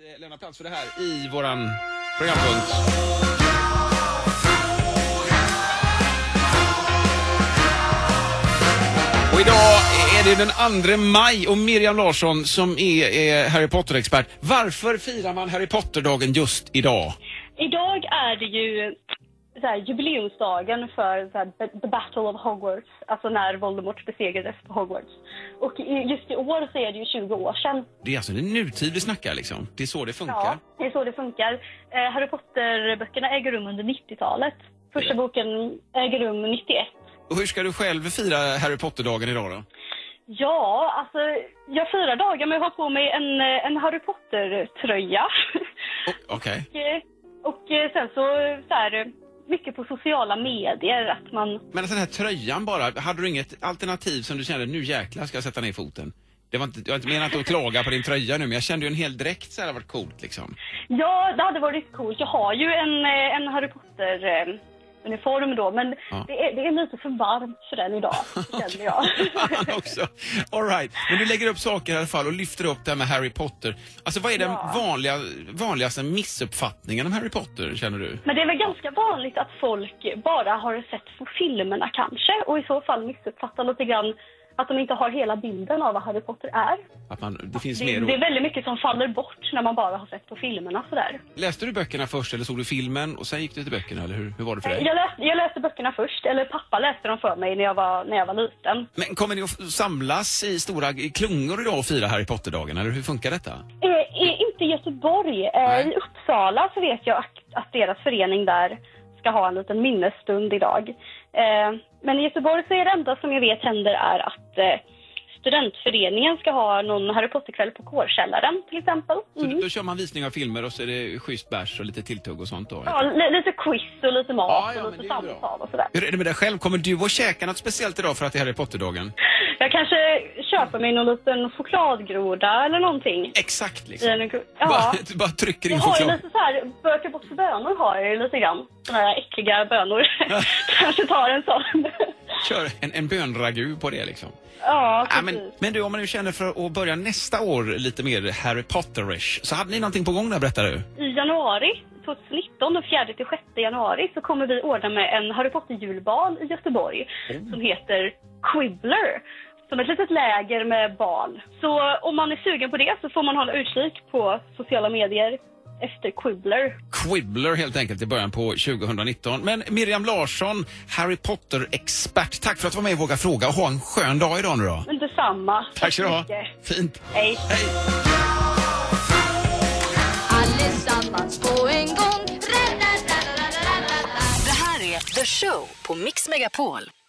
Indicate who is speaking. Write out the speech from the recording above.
Speaker 1: eh, lämna plats för det här i våran programpunkt. Och idag är det den 2 maj och Miriam Larsson som är eh, Harry Potter-expert. Varför firar man Harry Potter-dagen just idag?
Speaker 2: Idag är det ju så här, jubileumsdagen för så här, B- The Battle of Hogwarts, alltså när Voldemort besegrades på Hogwarts. Och i- just i år så är det ju 20 år sedan.
Speaker 1: Det är alltså det är nutid vi snackar liksom. Det är så det funkar.
Speaker 2: Ja, det är så det funkar. Eh, Harry Potter-böckerna äger rum under 90-talet. Första
Speaker 1: Ja.
Speaker 2: boken äger rum 91.
Speaker 1: Och hur ska du själv fira Harry Potter-dagen idag då?
Speaker 2: Ja, alltså jag firar dagar med att ha på mig en, eh, en Harry Potter-tröja.
Speaker 1: Oh, Okej.
Speaker 2: Eh, och eh, sen så, så här, eh, mycket på sociala medier, att man
Speaker 1: Men alltså den här tröjan bara, hade du inget alternativ som du kände, nu jäklar ska jag sätta ner foten? Det var inte, jag har inte menat att klaga på din tröja nu, men jag kände ju en hel dräkt så här hade varit coolt liksom.
Speaker 2: Ja, det hade varit coolt. Jag har ju en, eh, en Harry Potter-uniform då, men
Speaker 1: Ja.
Speaker 2: det, är, det är lite för varmt för den idag, känner jag.
Speaker 1: Han också. All right. Men du lägger upp saker i alla fall och lyfter upp det här med Harry Potter. Alltså vad är den
Speaker 2: Ja.
Speaker 1: vanliga, vanligaste missuppfattningen om Harry Potter, känner du?
Speaker 2: men det är väl ganska vanligt att folk bara har sett på filmerna kanske och i så fall missuppfattar lite grann att de inte har hela bilden av vad Harry Potter är.
Speaker 1: Att man, det finns
Speaker 2: Det,
Speaker 1: mer
Speaker 2: det är
Speaker 1: ord.
Speaker 2: väldigt mycket som faller bort när man bara har sett på filmerna sådär.
Speaker 1: Läste du böckerna först eller såg du filmen och sen gick du till böckerna, eller hur, hur var det för dig?
Speaker 2: Jag läste, jag läste böckerna först, eller pappa läste dem för mig när jag var, när jag var liten.
Speaker 1: Men kommer ni att samlas i stora klungor idag och fira Harry Potter-dagen, eller hur funkar detta?
Speaker 2: Eh, eh, inte i Göteborg. Eh,
Speaker 1: Nej.
Speaker 2: I Uppsala så vet jag att, att deras förening där ska ha en liten minnesstund idag. Eh, men i Göteborg så är det enda som jag vet händer är att eh, studentföreningen ska ha någon Harry Potter-kväll på kårkällaren till exempel.
Speaker 1: Så
Speaker 2: Mm.
Speaker 1: då kör man visning av filmer och så är det schysst bärs och lite tilltugg och sånt då?
Speaker 2: Ja, li- lite quiz och lite mat
Speaker 1: Ja, ja, men
Speaker 2: och
Speaker 1: det
Speaker 2: lite
Speaker 1: är ju bra.
Speaker 2: samtal och sådär.
Speaker 1: Hur är det med dig själv? Kommer du att käka något speciellt idag för att det är Harry Potter-dagen?
Speaker 2: Jag kanske köper mig någon liten chokladgroda eller någonting.
Speaker 1: Exakt
Speaker 2: I
Speaker 1: liksom.
Speaker 2: en-
Speaker 1: Bara,
Speaker 2: Ja.
Speaker 1: du bara trycker
Speaker 2: Jag
Speaker 1: in
Speaker 2: har ju
Speaker 1: choklad.
Speaker 2: lite så här, böka bort för bönor har jag ju lite grann. Såna här äckliga bönor. Kanske tar en sån.
Speaker 1: Kör en, en bönragu på det liksom.
Speaker 2: ja,
Speaker 1: Ja,
Speaker 2: precis.
Speaker 1: men, men du, om man nu känner för att börja nästa år lite mer Harry Potterish, så hade ni någonting på gång där berättar du?
Speaker 2: I januari 2019, den 4 till 6 januari, så kommer vi ordna med en Harry Potter-julbal i Göteborg
Speaker 1: Oh.
Speaker 2: som heter Quibbler. Som ett litet läger med bal. Så om man är sugen på det så får man hålla utkik på sociala medier efter Quibbler.
Speaker 1: Quibbler helt enkelt i början på 2019. Men Miriam Larsson, Harry Potter-expert, tack för att du var med och Våga Fråga och ha en skön dag idag nu då.
Speaker 2: Men detsamma.
Speaker 1: Tack ska du ha.
Speaker 2: mycket.
Speaker 1: Fint.
Speaker 2: Hej.
Speaker 1: Hej.
Speaker 3: Allesammans på en gång. Ra, ra, ra, ra, ra, ra, ra, ra.
Speaker 4: Det här är The Show på Mix Megapol.